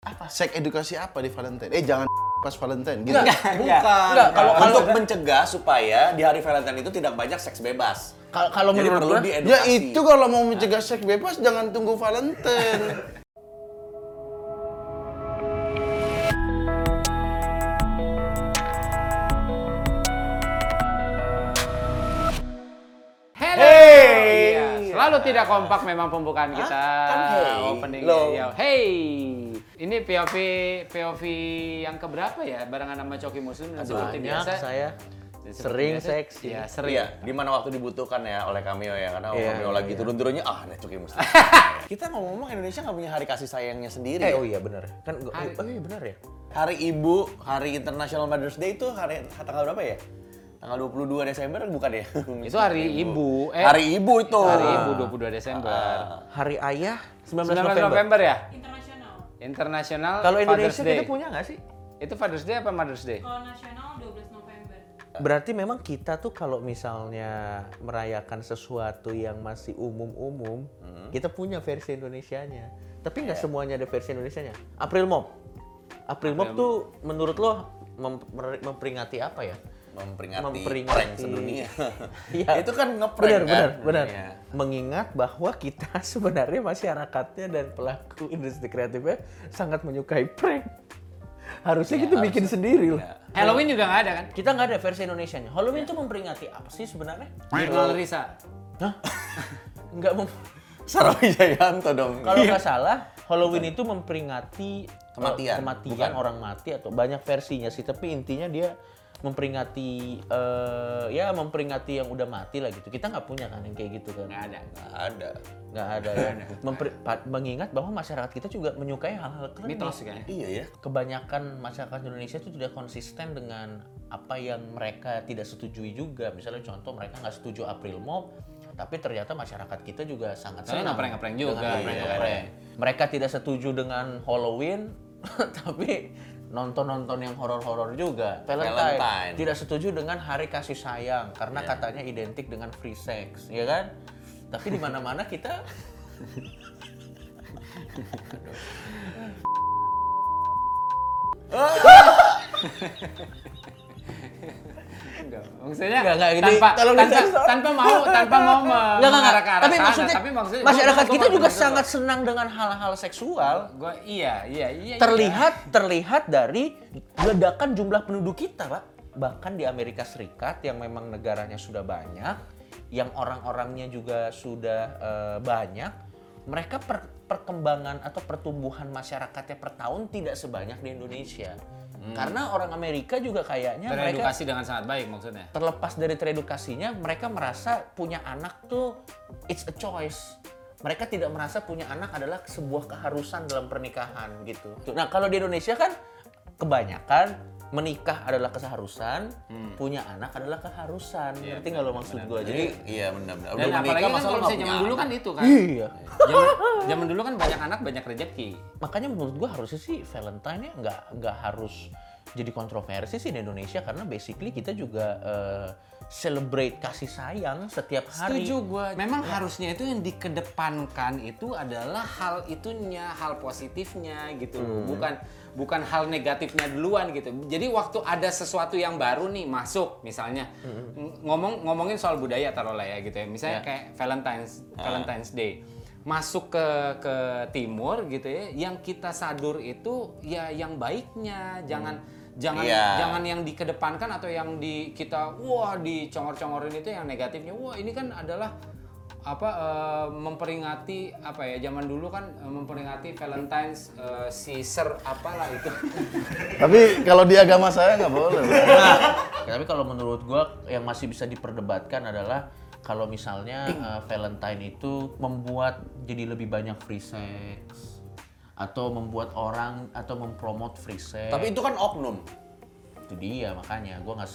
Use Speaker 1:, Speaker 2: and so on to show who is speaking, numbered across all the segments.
Speaker 1: apa sek edukasi apa di Valentine eh jangan pas Valentine gitu
Speaker 2: Enggak,
Speaker 3: Enggak.
Speaker 2: bukan.
Speaker 3: Enggak, kalau- kalau-
Speaker 2: untuk mencegah supaya di hari Valentine itu tidak banyak seks bebas.
Speaker 3: Kalau kalau
Speaker 2: Jadi
Speaker 3: menurut
Speaker 2: perlu
Speaker 3: gua-
Speaker 2: diedukasi.
Speaker 1: ya itu kalau mau mencegah seks bebas jangan tunggu Valentine
Speaker 4: Hello.
Speaker 2: Hey.
Speaker 4: Iya, selalu tidak kompak memang pembukaan kita.
Speaker 2: Kan hey.
Speaker 4: Opening
Speaker 2: Lo.
Speaker 4: ya. Hey. Ini POV POV yang keberapa ya barengan sama Coki Muslim dan seperti
Speaker 3: Banyak
Speaker 4: biasa.
Speaker 3: saya
Speaker 4: dan seperti
Speaker 3: sering
Speaker 4: biasa-
Speaker 3: seks.
Speaker 4: Iya, sering.
Speaker 2: Iya, di mana waktu dibutuhkan ya oleh cameo ya karena
Speaker 3: Iya,
Speaker 2: cameo
Speaker 3: iya,
Speaker 2: lagi
Speaker 3: iya.
Speaker 2: turun-turunnya ah ada cuki mesti. Kita ngomong-ngomong Indonesia nggak punya hari kasih sayangnya sendiri. ya?
Speaker 3: Eh oh iya benar. Kan gua,
Speaker 4: Hari-
Speaker 3: oh iya benar ya.
Speaker 2: Hari Ibu, Hari International Mother's Day itu hari tanggal berapa ya? Tanggal 22 Desember bukan ya?
Speaker 4: Itu hari Ibu. Eh,
Speaker 2: hari Ibu itu.
Speaker 4: Hari Ibu 22 Desember.
Speaker 2: Ah.
Speaker 3: Hari Ayah
Speaker 4: 19
Speaker 3: 19,
Speaker 4: November.
Speaker 3: November.
Speaker 4: ya? Internasional. Internasional
Speaker 3: Kalau
Speaker 4: Father's
Speaker 3: Indonesia
Speaker 4: Day.
Speaker 3: kita punya nggak sih?
Speaker 4: Itu Father's Day apa Mother's Day?
Speaker 5: Kalau nasional 12 November.
Speaker 3: Berarti memang kita tuh kalau misalnya merayakan sesuatu yang masih umum-umum, kita punya versi Indonesianya. Tapi nggak semuanya ada versi Indonesianya. April Mop. April Mop tuh menurut lo mem- mer- memperingati apa ya?
Speaker 2: memperingati,
Speaker 3: Memperingati.
Speaker 2: prank sedunia.
Speaker 3: Iya.
Speaker 2: Itu kan ngeprank
Speaker 3: Benar,
Speaker 2: kan?
Speaker 3: benar, benar.
Speaker 2: Iya.
Speaker 3: Mengingat bahwa kita sebenarnya masyarakatnya dan pelaku industri kreatifnya sangat menyukai prank. Iya, Harusnya kita bikin sendiri loh.
Speaker 2: Iya.
Speaker 4: Halloween juga nggak ada kan?
Speaker 3: Kita nggak ada versi Indonesianya. Halloween tuh memperingati apa sih sebenarnya?
Speaker 4: Nirmal Risa.
Speaker 3: Hah? Nggak mem-
Speaker 2: Sarwijayanto dong.
Speaker 3: Kalau nggak salah, Halloween itu memperingati eh,
Speaker 2: Kematian,
Speaker 3: kematian
Speaker 2: bukan.
Speaker 3: orang mati atau banyak versinya sih. Tapi intinya dia memperingati eh, ya memperingati yang udah mati lah gitu. Kita nggak punya kan yang kayak gitu kan?
Speaker 4: Nggak ada.
Speaker 2: Nggak ada.
Speaker 3: nggak ada ya. Memper- pa- mengingat bahwa masyarakat kita juga menyukai hal-hal klinik.
Speaker 4: Mitos kan?
Speaker 2: Iya ya.
Speaker 3: Kebanyakan masyarakat Indonesia itu tidak konsisten dengan apa yang mereka tidak setujui juga. Misalnya contoh mereka nggak setuju April Mop, tapi ternyata masyarakat kita juga sangat
Speaker 4: Soalnya
Speaker 3: senang
Speaker 4: ngeprank-ngeprank
Speaker 3: dengan
Speaker 4: juga, iya.
Speaker 3: ngeprank-ngeprank. Mereka tidak setuju dengan Halloween, tapi nonton-nonton yang horor-horor juga. Valentine.
Speaker 2: Valentine.
Speaker 3: Tidak setuju dengan hari kasih sayang karena katanya identik dengan free sex, ya kan? Tapi di mana-mana kita
Speaker 4: Enggak. Maksudnya
Speaker 3: Enggak, enggak, ini
Speaker 4: tanpa,
Speaker 3: tolong
Speaker 4: tanpa,
Speaker 3: disensor.
Speaker 4: tanpa mau tanpa mau me-
Speaker 3: Nggak, nggak,
Speaker 4: mengarah
Speaker 3: nggak.
Speaker 4: ke arah
Speaker 3: Tapi
Speaker 4: sana.
Speaker 3: maksudnya,
Speaker 4: tapi maksudnya
Speaker 3: masyarakat
Speaker 4: gua-
Speaker 3: kita
Speaker 4: gua
Speaker 3: juga
Speaker 4: ngerti,
Speaker 3: sangat senang dengan hal-hal seksual.
Speaker 4: gua- gua iya iya iya.
Speaker 3: Terlihat terlihat dari ledakan jumlah penduduk kita, Pak. Bahkan di Amerika Serikat yang memang negaranya sudah banyak, yang orang-orangnya juga sudah eh, banyak, mereka per- perkembangan atau pertumbuhan masyarakatnya per tahun tidak sebanyak di Indonesia. Karena orang Amerika juga
Speaker 4: Iya.
Speaker 3: kayaknya mereka
Speaker 4: Hmm. Teredukasi dengan sangat baik maksudnya.
Speaker 3: terlepas dari teredukasinya, mereka merasa punya anak tuh it's a choice. Mereka tidak merasa punya anak adalah sebuah keharusan dalam pernikahan gitu. Nah kalau di Indonesia kan kebanyakan menikah adalah keseharusan, punya anak adalah keharusan. Ngerti nggak lo maksud gue? Jadi
Speaker 2: Jadi iya benar-benar.
Speaker 4: Dan apalagi kan kalau misalnya zaman dulu kan itu kan.
Speaker 3: iya.
Speaker 4: Zaman, zaman dulu kan banyak anak banyak rezeki.
Speaker 3: Makanya menurut gue harusnya sih Valentine ya nggak nggak harus jadi kontroversi sih di Indonesia karena basically kita juga eh, celebrate kasih sayang setiap hari.
Speaker 4: Setuju gue. Memang harusnya itu yang dikedepankan itu adalah hal itunya, hal positifnya gitu loh. Bukan bukan hal negatifnya duluan gitu. Jadi waktu ada sesuatu yang baru nih masuk misalnya ng- ngomong ngomongin soal budaya taruhlah ya gitu ya. Misalnya kayak Valentine's Valentine's Day masuk ke ke timur gitu ya. Yang kita sadur itu ya yang baiknya, jangan jangan
Speaker 2: Iya.
Speaker 4: Kan jangan jangan yang dikedepankan atau yang di kita wah dicongor-congorin itu yang negatifnya wah ini kan adalah apa eh, memperingati apa ya zaman dulu kan eh, memperingati Valentine's eh, Caesar apalah itu
Speaker 1: tapi kalau di agama saya nggak boleh Bro.
Speaker 3: Tapi kalau menurut gua yang masih bisa diperdebatkan adalah kalau misalnya eh, Valentine itu membuat jadi lebih banyak free sex atau membuat orang atau mempromot free sex.
Speaker 2: Tapi itu kan oknum.
Speaker 3: itu dia makanya gua nggak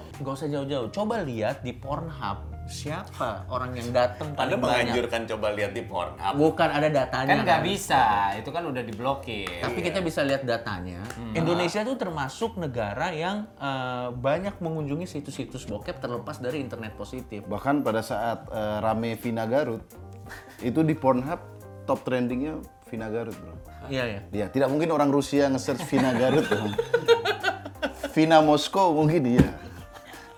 Speaker 4: Oh,
Speaker 3: Nggak usah jauh-jauh. Coba lihat di Pornhub siapa orang yang datang
Speaker 2: Anda
Speaker 3: paling banyak.
Speaker 2: menganjurkan coba lihat di Pornhub.
Speaker 3: Bukan ada datanya.
Speaker 4: kan nggak
Speaker 3: kan?
Speaker 4: bisa itu kan udah diblokir
Speaker 3: Tapi kita bisa lihat datanya.
Speaker 4: Hmm.
Speaker 3: Indonesia itu termasuk negara yang eh, banyak mengunjungi situs-situs bokep terlepas dari internet positif.
Speaker 1: bahkan pada saat eh, rame Vina Garut itu di Pornhub top trendingnya Vina Garut bro.
Speaker 3: Iya ya.
Speaker 1: Iya, tidak mungkin orang Rusia nge-search Vina Garut bro. Vina Moskow mungkin iya.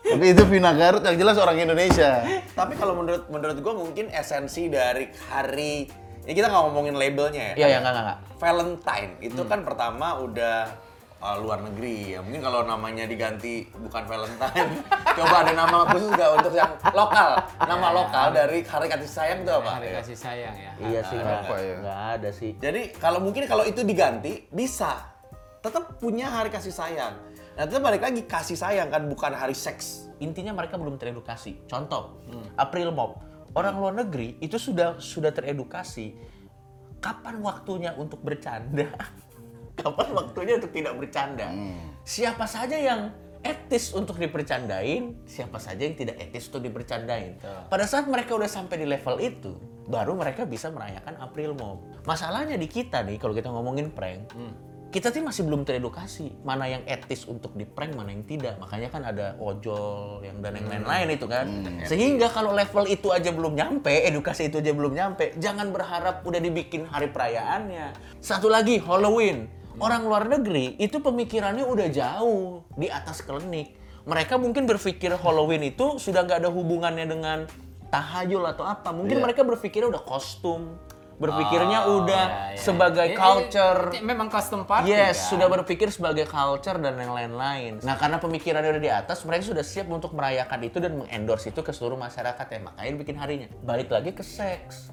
Speaker 1: Tapi itu Vina Garut yang jelas orang Indonesia.
Speaker 2: Tapi kalau menurut menurut gue mungkin esensi dari hari ini kita nggak ngomongin labelnya ya.
Speaker 3: Iya Hmm. ya, enggak enggak enggak.
Speaker 2: Valentine itu kan pertama udah uh, luar negeri ya. Mungkin kalau namanya diganti bukan Valentine, coba ada nama khusus nggak untuk yang lokal, nama lokal dari hari kasih sayang itu apa?
Speaker 4: Hari kasih sayang ya.
Speaker 3: Iya sih enggak.
Speaker 1: Apa ya?
Speaker 3: Enggak ada sih.
Speaker 2: Jadi kalau mungkin kalau itu diganti bisa tetap punya hari kasih sayang. Nah, itu balik lagi kasih sayang kan bukan hari seks.
Speaker 3: Intinya mereka belum teredukasi. Contoh, April Mop. Orang luar negeri itu sudah sudah teredukasi. Kapan waktunya untuk bercanda? Kapan waktunya untuk tidak bercanda? Siapa saja yang etis untuk dipercandain, siapa saja yang tidak etis untuk dipercandain. Pada saat mereka udah sampai di level itu, baru mereka bisa merayakan April Mop. Masalahnya di kita nih, kalau kita ngomongin prank, kita sih masih belum teredukasi mana yang etis untuk di prank mana yang tidak makanya kan ada ojol yang dan yang lain-lain itu kan sehingga kalau level itu aja belum nyampe edukasi itu aja belum nyampe jangan berharap udah dibikin hari perayaannya satu lagi Halloween orang luar negeri itu pemikirannya udah jauh di atas klinik mereka mungkin berpikir Halloween itu sudah nggak ada hubungannya dengan tahayul atau apa mungkin mereka berpikirnya udah kostum berpikirnya udah
Speaker 4: Ini-
Speaker 3: sebagai
Speaker 4: ini
Speaker 3: culture Iya.
Speaker 4: memang custom party
Speaker 3: Yes,
Speaker 4: kan?
Speaker 3: sudah berpikir sebagai culture dan yang lain-lain. Nah, karena pemikirannya udah di atas, mereka sudah siap untuk merayakan itu dan mengendorse itu ke seluruh masyarakat ya. Makanya bikin harinya. Balik lagi ke seks.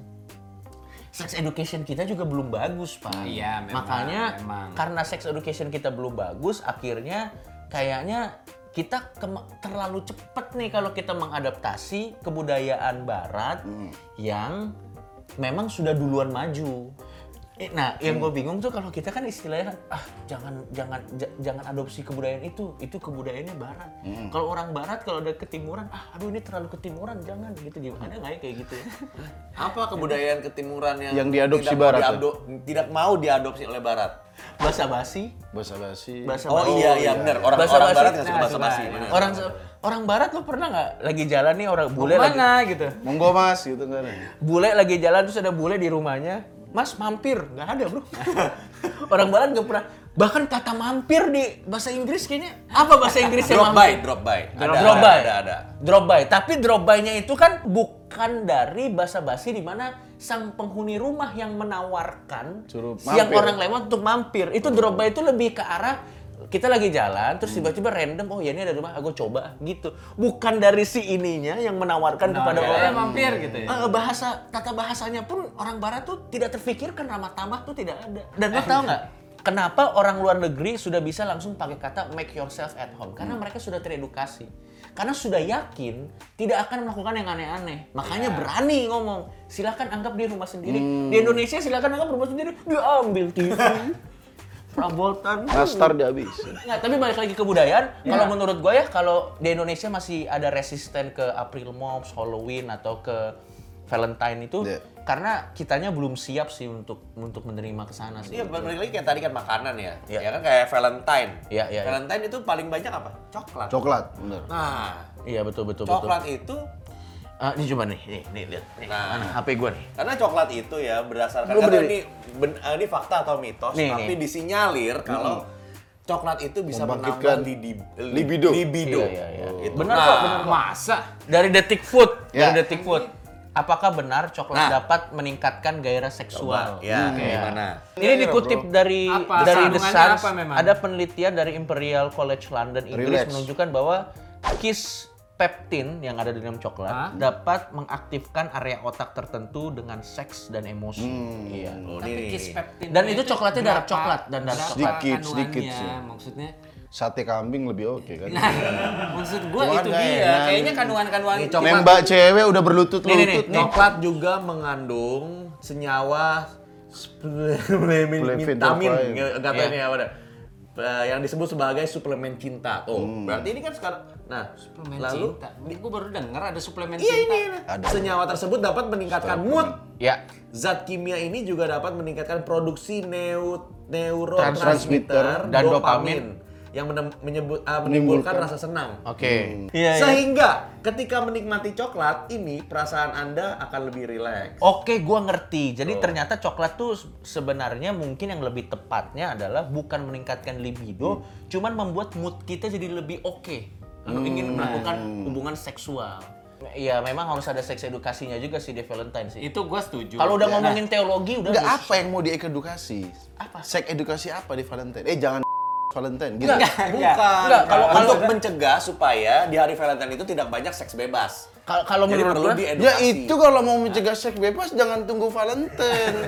Speaker 3: Sex education kita juga belum bagus, Pak.
Speaker 4: Iya, memang,
Speaker 3: Makanya
Speaker 4: memang.
Speaker 3: karena sex education kita belum bagus, akhirnya kayaknya kita kema- terlalu cepet nih kalau kita mengadaptasi kebudayaan barat yang memang sudah duluan maju. Eh, Nah, yang gue bingung tuh kalau kita kan istilahnya kan, ah jangan jangan ja- jangan adopsi kebudayaan itu, itu kebudayaannya barat. Kalau orang barat kalau ada ketimuran, ah aduh ini terlalu ketimuran, jangan gitu gimana nggak ya kayak gitu.
Speaker 2: Apa kebudayaan ketimuran yang
Speaker 1: Yang diadopsi
Speaker 2: tidak mau
Speaker 1: barat ya?
Speaker 2: diado- tidak mau diadopsi oleh barat?
Speaker 3: Bahasa basi,
Speaker 1: Bahasa basi.
Speaker 3: bahasa
Speaker 2: Oh, iya iya benar. Orang orang
Speaker 3: Basa-basi.
Speaker 2: barat nggak suka
Speaker 4: Nah,
Speaker 2: bahasa basi.
Speaker 4: suka,
Speaker 2: benar.
Speaker 3: orang
Speaker 2: nah.
Speaker 3: orang barat lo pernah nggak lagi jalan nih orang bule lagi
Speaker 4: mana gitu.
Speaker 1: Monggo mas gitu kan.
Speaker 3: bule lagi jalan terus ada bule di rumahnya mas mampir nggak ada bro orang barat nggak pernah bahkan kata mampir di bahasa Inggris kayaknya apa bahasa Inggrisnya
Speaker 2: Drop by,
Speaker 3: mampir
Speaker 2: drop by. Ada,
Speaker 3: drop, drop
Speaker 2: ada,
Speaker 3: by
Speaker 2: Ada, ada.
Speaker 3: drop by tapi drop by-nya itu kan bukan dari bahasa basi di mana sang penghuni rumah yang menawarkan
Speaker 1: Suruh
Speaker 3: siang
Speaker 1: mampir.
Speaker 3: orang lewat untuk mampir itu drop by itu lebih ke arah kita lagi jalan terus tiba-tiba random oh ya ini ada rumah aku coba ah," gitu bukan dari si ininya yang menawarkan kepada
Speaker 4: Nah,
Speaker 3: orang
Speaker 4: mampir gitu ya.
Speaker 3: Eh, bahasa tata bahasanya pun orang barat tuh tidak terfikirkan ramah tamah tuh tidak ada. Dan lo tau nggak kenapa orang luar negeri sudah bisa langsung pakai kata make yourself at home? Karena mereka sudah teredukasi. Karena sudah yakin tidak akan melakukan yang aneh-aneh. Makanya berani ngomong. Silahkan anggap di rumah sendiri. Di Indonesia silahkan anggap rumah sendiri. Diambil TV. Perabotan.
Speaker 1: Nastar dia habis.
Speaker 3: Nggak, Nah, tapi balik lagi
Speaker 2: Iya.
Speaker 3: ke budayaan, kalau menurut gue ya, kalau di Indonesia masih ada resisten ke April Mobs, Halloween, atau ke Valentine itu,
Speaker 1: Iya.
Speaker 3: karena kitanya belum siap sih untuk untuk menerima ke sana sih.
Speaker 2: Iya, balik lagi kayak tadi kan makanan ya.
Speaker 3: Iya.
Speaker 2: Ya kan kayak Valentine.
Speaker 3: Iya, iya, iya.
Speaker 2: Valentine itu paling banyak apa? Coklat.
Speaker 1: Coklat, bener.
Speaker 2: Nah,
Speaker 3: Iya betul betul
Speaker 2: coklat itu
Speaker 3: betul. Ah, ini coba nih, nih, nih lihat. Nih,
Speaker 2: Nah.
Speaker 3: mana HP gue nih.
Speaker 2: Karena coklat itu ya berdasarkan
Speaker 1: Lu
Speaker 2: karena
Speaker 1: berdiri.
Speaker 2: ini ben- eh, ini fakta atau mitos
Speaker 3: Nih,
Speaker 2: tapi
Speaker 3: nih.
Speaker 2: disinyalir kalau coklat itu bisa
Speaker 1: Membangkitkan
Speaker 2: menambah lidi-
Speaker 1: libido.
Speaker 2: libido.
Speaker 3: Iya, iya, iya.
Speaker 2: Gitu.
Speaker 3: Benar
Speaker 2: Nah,
Speaker 3: kok, benar kok.
Speaker 4: Masa?
Speaker 3: Dari detik food,
Speaker 1: Ya.
Speaker 3: dari detik food. Apakah benar coklat
Speaker 2: Iya. Nah.
Speaker 3: dapat meningkatkan gairah seksual?
Speaker 2: Ya, kayak
Speaker 3: Iya.
Speaker 2: gimana?
Speaker 3: Ini dikutip dari
Speaker 4: Apa?
Speaker 3: dari The
Speaker 4: Sambungannya
Speaker 3: Sun.
Speaker 4: apa memang?
Speaker 3: Ada penelitian dari Imperial College London Inggris
Speaker 1: Relax.
Speaker 3: menunjukkan bahwa kiss peptin yang ada di dalam coklat
Speaker 4: Hah?
Speaker 3: dapat mengaktifkan area otak tertentu dengan seks dan emosi. Iya.
Speaker 2: Oh, ini
Speaker 4: Tapi
Speaker 2: nih.
Speaker 4: kiss peptin
Speaker 3: Dan
Speaker 4: dia
Speaker 3: itu coklatnya dark
Speaker 4: berapa-
Speaker 3: coklat dan dark
Speaker 4: berapa
Speaker 3: coklat.
Speaker 1: Sedikit, sedikit
Speaker 4: kandungannya?
Speaker 1: sih.
Speaker 4: Maksudnya
Speaker 1: Sate kambing lebih oke kan.
Speaker 4: Nah, maksud gua
Speaker 1: Cuman
Speaker 4: itu
Speaker 1: nggak
Speaker 4: dia.
Speaker 1: enak.
Speaker 4: Kayaknya kandungan-kandungan
Speaker 2: Ini
Speaker 4: coklat.
Speaker 1: Nembak cewek udah berlutut-lutut nih.
Speaker 2: Coklat juga mengandung senyawa sp-
Speaker 1: Flavonoid.
Speaker 2: vitamin enggak tahu
Speaker 3: Iya.
Speaker 2: ini apa dah. Eh, yang disebut sebagai suplemen cinta. Tuh,
Speaker 1: Hmm.
Speaker 2: berarti ini kan sekarang nah,
Speaker 4: Suplemen
Speaker 2: lalu
Speaker 4: cinta. Gue baru denger ada suplemen
Speaker 2: Iya
Speaker 4: cinta.
Speaker 2: ini, ini. senyawa tersebut dapat meningkatkan mood.
Speaker 3: Ya.
Speaker 2: Zat kimia ini juga dapat meningkatkan produksi neu- neurotransmitter
Speaker 1: Transmitter
Speaker 3: dan dopamin.
Speaker 2: yang menem- menyebut, ah,
Speaker 1: Menimbulkan.
Speaker 2: menimbulkan rasa senang. Hmm.
Speaker 3: Oke.
Speaker 2: Sehingga ketika menikmati coklat ini perasaan Anda akan lebih rileks.
Speaker 3: Oke, gua ngerti. Jadi ternyata coklat tuh se- sebenarnya mungkin yang lebih tepatnya adalah bukan meningkatkan libido, cuman membuat mood kita jadi lebih oke. Kalau ingin Hmm. melakukan hubungan seksual. Iya, memang harus ada seks edukasinya juga sih di Valentine sih.
Speaker 4: Itu gue setuju. Nah,
Speaker 3: Kalau udah ngomongin teologi udah
Speaker 1: Enggak
Speaker 3: bus.
Speaker 1: apa yang mau diedukasi?
Speaker 3: Apa?
Speaker 1: Sek edukasi apa di Valentine? Eh jangan Valentine gitu.
Speaker 2: Enggak,
Speaker 4: enggak.
Speaker 2: bukan.
Speaker 3: Enggak, kalau- kalau-
Speaker 2: untuk mencegah supaya di hari Valentine itu tidak banyak seks bebas.
Speaker 3: Kal- Kalau
Speaker 2: Jadi
Speaker 3: menurut
Speaker 2: perlu
Speaker 3: gua-
Speaker 2: diedukasi.
Speaker 1: Ya itu kalau mau mencegah seks bebas jangan tunggu Valentine.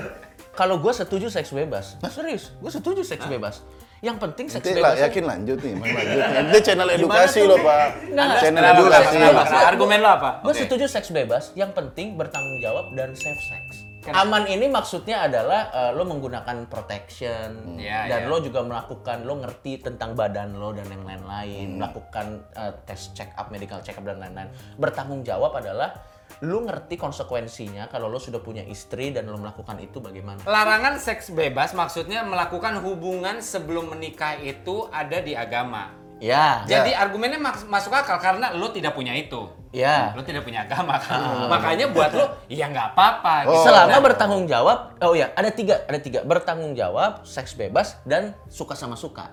Speaker 3: Kalau gue setuju seks bebas. Serius, gue setuju seks bebas. Yang penting seks
Speaker 1: Nanti lah ya,
Speaker 3: bebas.
Speaker 1: yakin lanjut nih, Bang, lanjut. Nanti channel edukasi
Speaker 2: tuh?
Speaker 1: loh Pak.
Speaker 3: Nah.
Speaker 1: channel
Speaker 4: Kenapa,
Speaker 1: edukasi.
Speaker 4: kenapa, kenapa? Argumen lo apa?
Speaker 3: Gue
Speaker 2: Oke.
Speaker 3: setuju seks bebas. Yang penting bertanggung jawab dan safe sex.
Speaker 4: Kenapa?
Speaker 3: Aman ini maksudnya adalah eh, lo menggunakan protection
Speaker 4: Iya,
Speaker 3: dan
Speaker 4: iya.
Speaker 3: lo juga melakukan lo ngerti tentang badan lo dan yang lain-lain, melakukan eh, tes check up, medical check up dan lain-lain. Bertanggung jawab adalah lo ngerti konsekuensinya kalau lo sudah punya istri dan lo melakukan itu bagaimana.
Speaker 4: Larangan seks bebas maksudnya melakukan hubungan sebelum menikah itu ada di agama.
Speaker 3: Ya, ya,
Speaker 4: Jadi argumennya mas- masuk akal karena lo tidak punya itu.
Speaker 3: Ya.
Speaker 4: Lo tidak punya agama kan. Makanya buat lo ya nggak apa-apa.
Speaker 1: Oh,
Speaker 4: gitu.
Speaker 1: ya.
Speaker 3: Selama
Speaker 4: Nah,
Speaker 3: bertanggung jawab, oh ya ada tiga, ada tiga bertanggung jawab, seks bebas dan suka sama suka.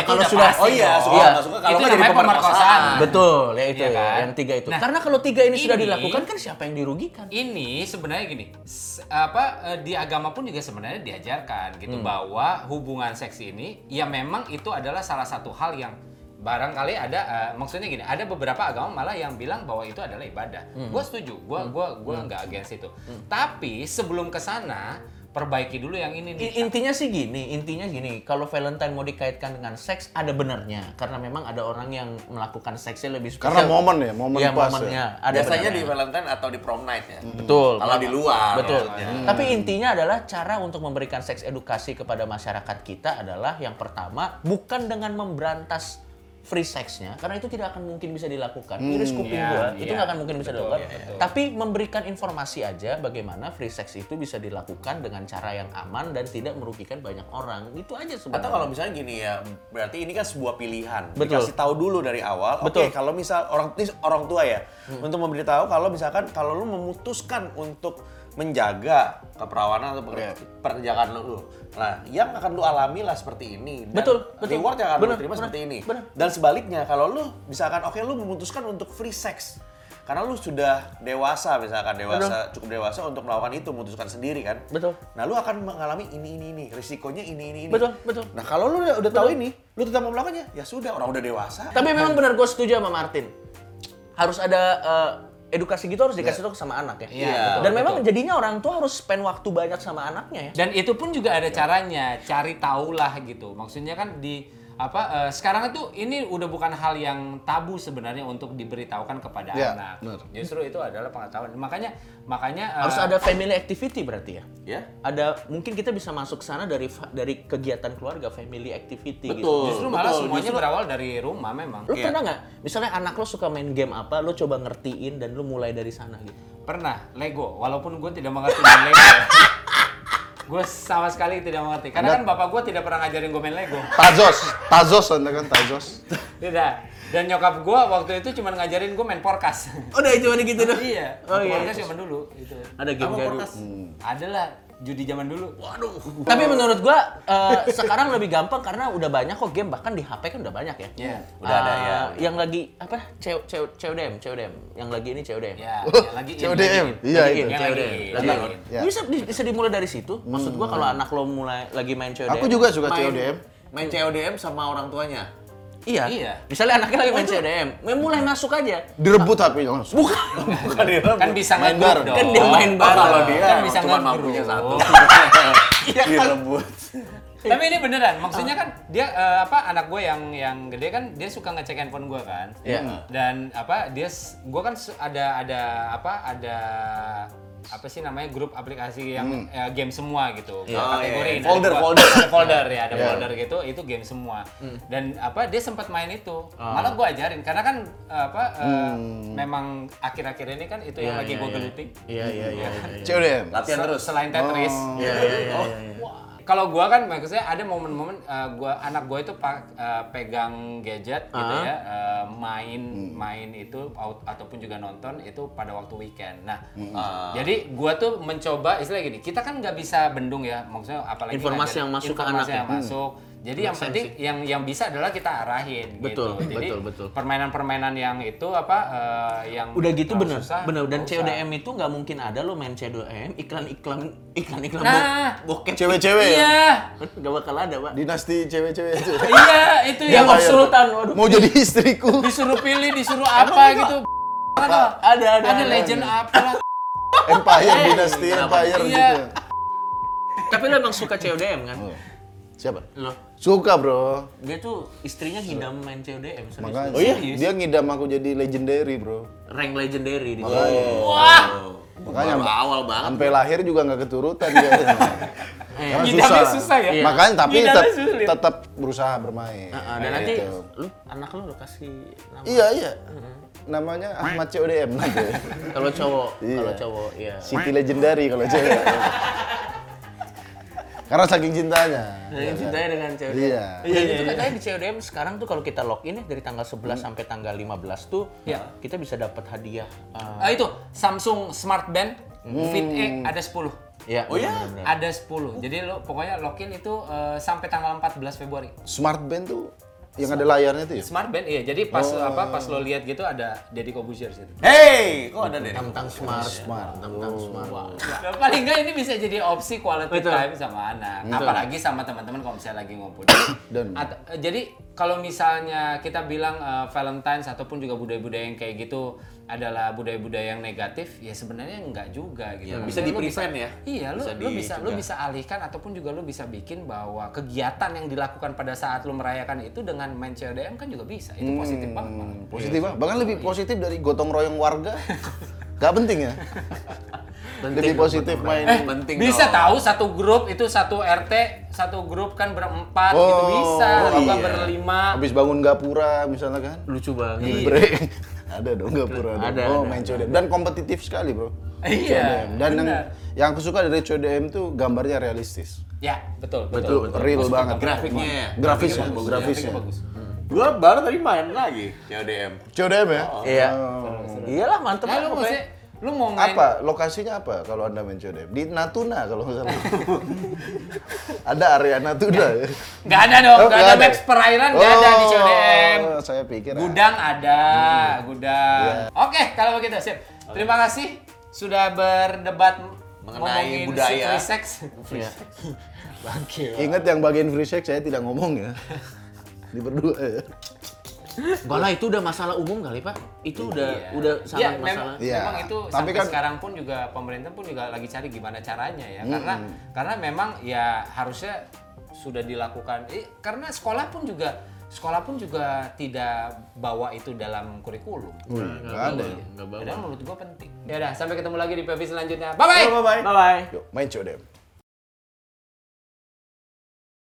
Speaker 4: Ya, itu udah pasti
Speaker 2: Oh iya,
Speaker 4: dong.
Speaker 2: suka
Speaker 3: Iya.
Speaker 2: nggak suka kalau
Speaker 4: Itu
Speaker 2: nggak jadi
Speaker 4: namanya
Speaker 2: pemerkosaan.
Speaker 4: pemerkosaan.
Speaker 3: betul ya itu
Speaker 4: Iya
Speaker 3: ya,
Speaker 4: kan?
Speaker 3: yang tiga itu.
Speaker 4: Nah,
Speaker 3: Karena kalau tiga ini, sudah
Speaker 4: ini- Iya.
Speaker 3: dilakukan kan siapa yang dirugikan?
Speaker 4: ini sebenarnya gini s- apa eh, di agama pun juga sebenarnya diajarkan gitu bahwa hubungan seks ini ya memang itu adalah salah satu hal yang barangkali ada eh, maksudnya gini ada beberapa agama malah yang bilang bahwa itu adalah ibadah gue setuju gue gua gua nggak against itu tapi sebelum ke sana perbaiki dulu yang ini nih
Speaker 3: I- Intinya sih gini, intinya gini, kalau Valentine mau dikaitkan dengan seks ada benarnya karena memang ada orang yang melakukan seksnya lebih spesial.
Speaker 1: Karena momen ya, momen
Speaker 3: Iya,
Speaker 1: pas ya.
Speaker 3: momennya. Ada
Speaker 2: Biasanya di
Speaker 3: benarnya.
Speaker 2: Valentine atau di prom night ya.
Speaker 3: Betul.
Speaker 2: Kalau di luar. Iya.
Speaker 3: Betul.
Speaker 2: maksudnya.
Speaker 3: Tapi intinya adalah cara untuk memberikan seks edukasi kepada masyarakat kita adalah yang pertama bukan dengan memberantas free sexnya karena itu tidak akan mungkin bisa dilakukan
Speaker 2: Hmm,
Speaker 3: iris kuping
Speaker 4: iya,
Speaker 3: gua itu
Speaker 4: iya.
Speaker 3: nggak akan mungkin bisa
Speaker 4: Betul,
Speaker 3: dilakukan
Speaker 4: iya, betul.
Speaker 3: tapi memberikan informasi aja bagaimana free sex itu bisa dilakukan dengan cara yang aman dan tidak merugikan banyak orang itu aja sebenarnya
Speaker 2: Atau kalau misalnya gini ya, berarti ini kan sebuah pilihan.
Speaker 3: Betul.
Speaker 2: Dikasih tahu dulu dari awal. Oke,
Speaker 3: Betul. Hmm.
Speaker 2: kalau misal orang ini orang tua ya, untuk memberitahu kalau misalkan kalau lu memutuskan untuk menjaga keperawanan atau pekerja-
Speaker 3: Iya.
Speaker 2: pekerjaan lu, lu. Nah, yang akan lu alami lah seperti ini. Dan
Speaker 3: Betul, betul.
Speaker 2: Reward yang akan
Speaker 3: Bener,
Speaker 2: lu terima
Speaker 3: bener,
Speaker 2: seperti ini.
Speaker 3: bener.
Speaker 2: Dan sebaliknya, kalau lu misalkan oke lu memutuskan untuk free sex. Karena lu sudah dewasa misalkan dewasa cukup dewasa untuk melakukan itu memutuskan sendiri kan.
Speaker 3: Betul.
Speaker 2: Nah, lu akan mengalami ini ini ini, risikonya ini ini ini.
Speaker 3: Betul, betul.
Speaker 2: Nah kalau lu udah, udah tahu ini, lu tetap mau melakukannya, ya sudah orang udah dewasa.
Speaker 3: Tapi memang benar gue setuju sama Martin. Harus ada eh, edukasi gitu harus dikasih tahu sama anak ya.
Speaker 4: Iya,
Speaker 3: Dan
Speaker 4: betul, Iya.
Speaker 3: memang jadinya orang tua harus spend waktu banyak sama anaknya ya.
Speaker 4: Dan itu pun juga ada caranya, cari tahulah gitu. Maksudnya kan di apa eh, sekarang itu ini udah bukan hal yang tabu sebenarnya untuk diberitahukan kepada
Speaker 1: Ya,
Speaker 4: anak.
Speaker 1: bener.
Speaker 4: Justru itu adalah pengetahuan. Makanya makanya eh,
Speaker 3: Harus ada family activity berarti ya.
Speaker 2: Ya.
Speaker 3: Ada mungkin kita bisa masuk sana dari fa- dari kegiatan keluarga family activity gitu.
Speaker 2: Betul.
Speaker 4: justru malah
Speaker 2: betul,
Speaker 4: semuanya
Speaker 2: justru-
Speaker 4: berawal dari rumah memang.
Speaker 3: Lu pernah nggak misalnya anak lo suka main game apa, lo coba ngertiin dan lo mulai dari sana gitu.
Speaker 4: Pernah Lego, walaupun gue tidak mengerti main Lego. gue sama sekali tidak mengerti. Karena kan bapak gue tidak pernah ngajarin gue main Lego.
Speaker 1: Tazos, Tazos anda kan Tazos.
Speaker 4: Tidak. Dan nyokap gue waktu itu cuma ngajarin gue main porkas.
Speaker 3: Udah cuma gitu
Speaker 4: iya.
Speaker 3: Oh, iya.
Speaker 4: Porkas zaman dulu itu.
Speaker 3: Ada Hmm. game garu.
Speaker 4: Adalah judi zaman dulu. Waduh.
Speaker 3: Tapi menurut gua eh, sekarang lebih gampang karena udah banyak kok game bahkan di HP kan udah banyak ya.
Speaker 4: Iya.
Speaker 2: Udah ada,
Speaker 3: Eh,
Speaker 2: ya.
Speaker 3: Yang lagi apa? C- C- CODM, CODM. Yang lagi ini CODM.
Speaker 2: Iya.
Speaker 4: Ya, ya, lagi in,
Speaker 1: CODM.
Speaker 4: lagi in.
Speaker 1: Iya
Speaker 4: Lagi
Speaker 1: itu.
Speaker 4: in, yang lagi in,
Speaker 3: Lagi
Speaker 4: lagi in.
Speaker 1: Ya.
Speaker 3: Bisa di- bisa dimulai dari situ. Maksud gua kalau anak lo mulai lagi main CODM.
Speaker 1: Hmm. Aku juga suka CODM.
Speaker 2: Main CODM sama orang tuanya.
Speaker 3: Iya.
Speaker 4: Iya.
Speaker 3: Misalnya anaknya lagi main CODM, main- mulai masuk aja.
Speaker 1: Direbut HP-nya langsung.
Speaker 3: Bukan.
Speaker 2: Iya. Bukan dia
Speaker 4: Kan bisa
Speaker 1: Main
Speaker 4: nge-group
Speaker 1: bareng.
Speaker 4: dong.
Speaker 3: Kan dia main bareng.
Speaker 2: kalau dia
Speaker 4: Kan
Speaker 2: emang
Speaker 4: bisa
Speaker 2: cuma
Speaker 4: nge-group.
Speaker 2: mampunya satu. Ya
Speaker 3: Iya.
Speaker 2: Direbut.
Speaker 4: Tapi ini beneran, maksudnya kan dia eh, apa anak gue yang yang gede kan dia suka ngecek handphone gue kan.
Speaker 3: Iya.
Speaker 4: Dan apa dia s- gue kan su- ada ada apa ada apa sih namanya grup aplikasi yang eh, game semua gitu.
Speaker 2: Hmm. Iya. Oh, iya, iya.
Speaker 4: Kategori.
Speaker 2: Folder,
Speaker 4: ada,
Speaker 2: folder.
Speaker 4: Ada folder ya, ada
Speaker 1: Iya.
Speaker 4: folder gitu, itu game semua.
Speaker 2: Hmm.
Speaker 4: Dan apa dia sempat main itu.
Speaker 2: Ah.
Speaker 4: Malah gue ajarin karena kan eh, apa eh,
Speaker 2: Hmm.
Speaker 4: memang akhir-akhir ini kan itu
Speaker 2: Iya,
Speaker 4: yang lagi gue geluti.
Speaker 3: Iya, iya, iya.
Speaker 1: CODM.
Speaker 2: Latihan terus. Oh.
Speaker 4: Selain Tetris.
Speaker 3: Oh.
Speaker 1: Iya, iya, iya.
Speaker 4: Wah, kalau gua kan maksudnya ada momen-momen eh, gua anak gua itu pa- eh, pegang gadget gitu ya, eh, main
Speaker 3: Hmm.
Speaker 4: main itu au- ataupun juga nonton itu pada waktu weekend. Nah,
Speaker 3: Hmm. Ah.
Speaker 4: eh, jadi gua tuh mencoba istilah gini, kita kan nggak bisa bendung ya, maksudnya apalagi ada-
Speaker 3: Informasi yang masuk ke
Speaker 4: informasi
Speaker 3: anak
Speaker 4: yang masuk.
Speaker 3: Hmm.
Speaker 4: Jadi yang penting yang yang bisa adalah kita arahin
Speaker 3: Betul,
Speaker 4: gitu. Jadi
Speaker 3: betul, betul.
Speaker 4: permainan-permainan yang itu apa eh, yang
Speaker 3: Udah gitu
Speaker 4: terlalu
Speaker 3: bener,
Speaker 4: susah,
Speaker 3: bener. Dan
Speaker 4: nggak usah.
Speaker 3: CODM itu nggak mungkin ada lo main CODM, iklan-iklan, iklan-iklan
Speaker 4: Nah.
Speaker 3: bo- bokep.
Speaker 1: Cewek-cewek ya?
Speaker 4: Iya,
Speaker 3: Nggak bakal ada, Pak.
Speaker 1: Dinasti cewek-cewek itu.
Speaker 4: iya itu yang
Speaker 3: Dia mau
Speaker 1: Bayar.
Speaker 3: sultan, waduh.
Speaker 1: Mau jadi istriku.
Speaker 4: disuruh pilih, disuruh apa gitu. Ada,
Speaker 3: Ada, ada.
Speaker 4: ada legend apa lah.
Speaker 1: Empire, dinasti empire
Speaker 4: Iya.
Speaker 1: gitu.
Speaker 3: Tapi lo emang suka CODM kan?
Speaker 1: Siapa?
Speaker 3: Lo,
Speaker 1: Suka bro.
Speaker 3: dia tuh istrinya ngidam main CODM. serius.
Speaker 1: Makanya.
Speaker 3: Oh iya?
Speaker 1: Dia ngidam aku jadi legendary bro.
Speaker 3: Rank legendary dia.
Speaker 1: Makanya
Speaker 2: Baru awal banget.
Speaker 1: Sampai lahir juga nggak keturutan dia.
Speaker 3: Eh,
Speaker 1: Karena
Speaker 4: Ngidamnya susah ya?
Speaker 1: Iya. Makanya tapi
Speaker 4: Ngidamnya
Speaker 1: tetap
Speaker 4: sulit.
Speaker 1: tetap berusaha bermain.
Speaker 3: Ah, dan nanti
Speaker 1: Gitu.
Speaker 3: lu anak lu lo kasih nama.
Speaker 1: Iya iya. Namanya Ahmad CODM nanti.
Speaker 3: Kalau cowok,
Speaker 1: Iya.
Speaker 3: kalau cowok ya.
Speaker 1: City legendary kalau cewek. Karena saking cintanya. Iya,
Speaker 3: Saya
Speaker 1: kan?
Speaker 3: cintanya dengan CODM.
Speaker 1: Iya.
Speaker 3: Iya, itu katanya di CODM sekarang tuh kalau kita login ya dari tanggal 11 sampai tanggal 15 tuh
Speaker 4: Iya.
Speaker 3: kita bisa dapat hadiah. eh,
Speaker 4: Ah, itu Samsung Smart Band Fit E ada 10.
Speaker 3: ya, oh iya.
Speaker 4: Ada 10. Jadi lo pokoknya login itu eh, sampai tanggal 14 Februari.
Speaker 1: Smart band tuh yang ada layarnya tuh ya.
Speaker 4: Smart Band iya. Jadi pas apa pas lo lihat gitu ada Deddy Kobuzier di situ.
Speaker 2: Hey, kok ada deh?
Speaker 3: Tentang smart,
Speaker 1: Smart.
Speaker 3: tentang smart. Iya.
Speaker 4: Nah, paling nggak ini bisa jadi opsi quality
Speaker 3: Betul.
Speaker 4: time sama anak. Apalagi sama teman-teman kalau misalnya lagi ngumpul.
Speaker 1: Dan-
Speaker 4: Atau- eh, jadi kalau misalnya kita bilang eh, Valentine's ataupun juga budaya-budaya yang kayak gitu adalah budaya-budaya yang negatif, ya sebenarnya nggak juga
Speaker 2: Bisa
Speaker 4: gitu. Maksudnya lo
Speaker 2: di-prevent ya?
Speaker 4: Iya, lu
Speaker 2: Bisa
Speaker 4: lu bisa lu
Speaker 2: dicegah.
Speaker 4: bisa alihkan ataupun juga lu bisa bikin bahwa kegiatan yang dilakukan pada saat lu merayakan itu dengan main CODM kan juga bisa. Itu positif banget. malah.
Speaker 1: Hmm, Positif banget. Bahkan lebih positif dari gotong royong warga. Gak penting ya. lebih positif main.
Speaker 4: Eh,
Speaker 2: Penting
Speaker 4: bisa
Speaker 2: dong.
Speaker 4: tahu satu grup itu satu RT, satu grup kan berempat gitu bisa,
Speaker 1: iya.
Speaker 4: atau nggak berlima.
Speaker 1: Oh, Habis bangun gapura misalnya kan.
Speaker 3: Lucu banget.
Speaker 1: Break. ada dong gapura. dong.
Speaker 3: Ada,
Speaker 1: oh,
Speaker 3: ada,
Speaker 1: main CODM. Dan kompetitif sekali, Bro.
Speaker 4: Iya,
Speaker 1: Dan yang yang aku suka dari CODM tuh gambarnya realistis.
Speaker 4: Ya, betul,
Speaker 1: Itu
Speaker 4: betul.
Speaker 1: real banget.
Speaker 2: Grafiknya ya?
Speaker 1: Grafisnya,
Speaker 2: Grafiknya bagus,
Speaker 1: grafisnya.
Speaker 2: Gua baru tadi main lagi CODM.
Speaker 1: CODM ya?
Speaker 3: Iya.
Speaker 1: Oh.
Speaker 3: Iyalah mantep
Speaker 4: Nah, lu
Speaker 3: lah
Speaker 4: maksudnya,
Speaker 3: pokoknya.
Speaker 4: lu mau main
Speaker 1: Apa lokasinya apa kalau Anda main CODM? Di Natuna kalau nggak salah. ada area Natuna ya.
Speaker 4: Gak ada dong,
Speaker 1: Oh,
Speaker 4: gak
Speaker 1: nggak
Speaker 4: ada
Speaker 1: ada.
Speaker 4: Max Perairan, gak ada di CODM.
Speaker 1: Oh, Hmm. Saya pikir
Speaker 4: Gudang ada, gudang.
Speaker 1: Iya.
Speaker 4: Oke, kalau begitu sip. Terima kasih sudah berdebat
Speaker 2: Mengenai
Speaker 4: ngomongin
Speaker 2: budaya.
Speaker 4: free sex.
Speaker 3: Iya.
Speaker 1: Ingat yang bagian free sex saya tidak ngomong ya. Di berdua ya.
Speaker 3: Enggak lah, itu udah masalah umum kali, Pak. Itu udah
Speaker 4: Iya.
Speaker 3: udah
Speaker 4: Iya,
Speaker 3: sangat
Speaker 4: mem-
Speaker 3: masalah.
Speaker 1: Iya.
Speaker 4: Memang itu
Speaker 1: Tapi
Speaker 4: sampai
Speaker 1: kan-
Speaker 4: sekarang pun juga pemerintah pun juga lagi cari gimana caranya ya. Karena karena memang ya harusnya sudah dilakukan. Eh, karena sekolah pun juga sekolah pun juga tidak bawa itu dalam kurikulum.
Speaker 1: Iya, Enggak ada.
Speaker 3: Enggak bawa.
Speaker 4: Padahal menurut gua penting. Ya udah, sampai ketemu lagi di PV selanjutnya. Bye bye.
Speaker 2: Bye bye.
Speaker 3: Bye bye.
Speaker 1: Yuk, main CODM.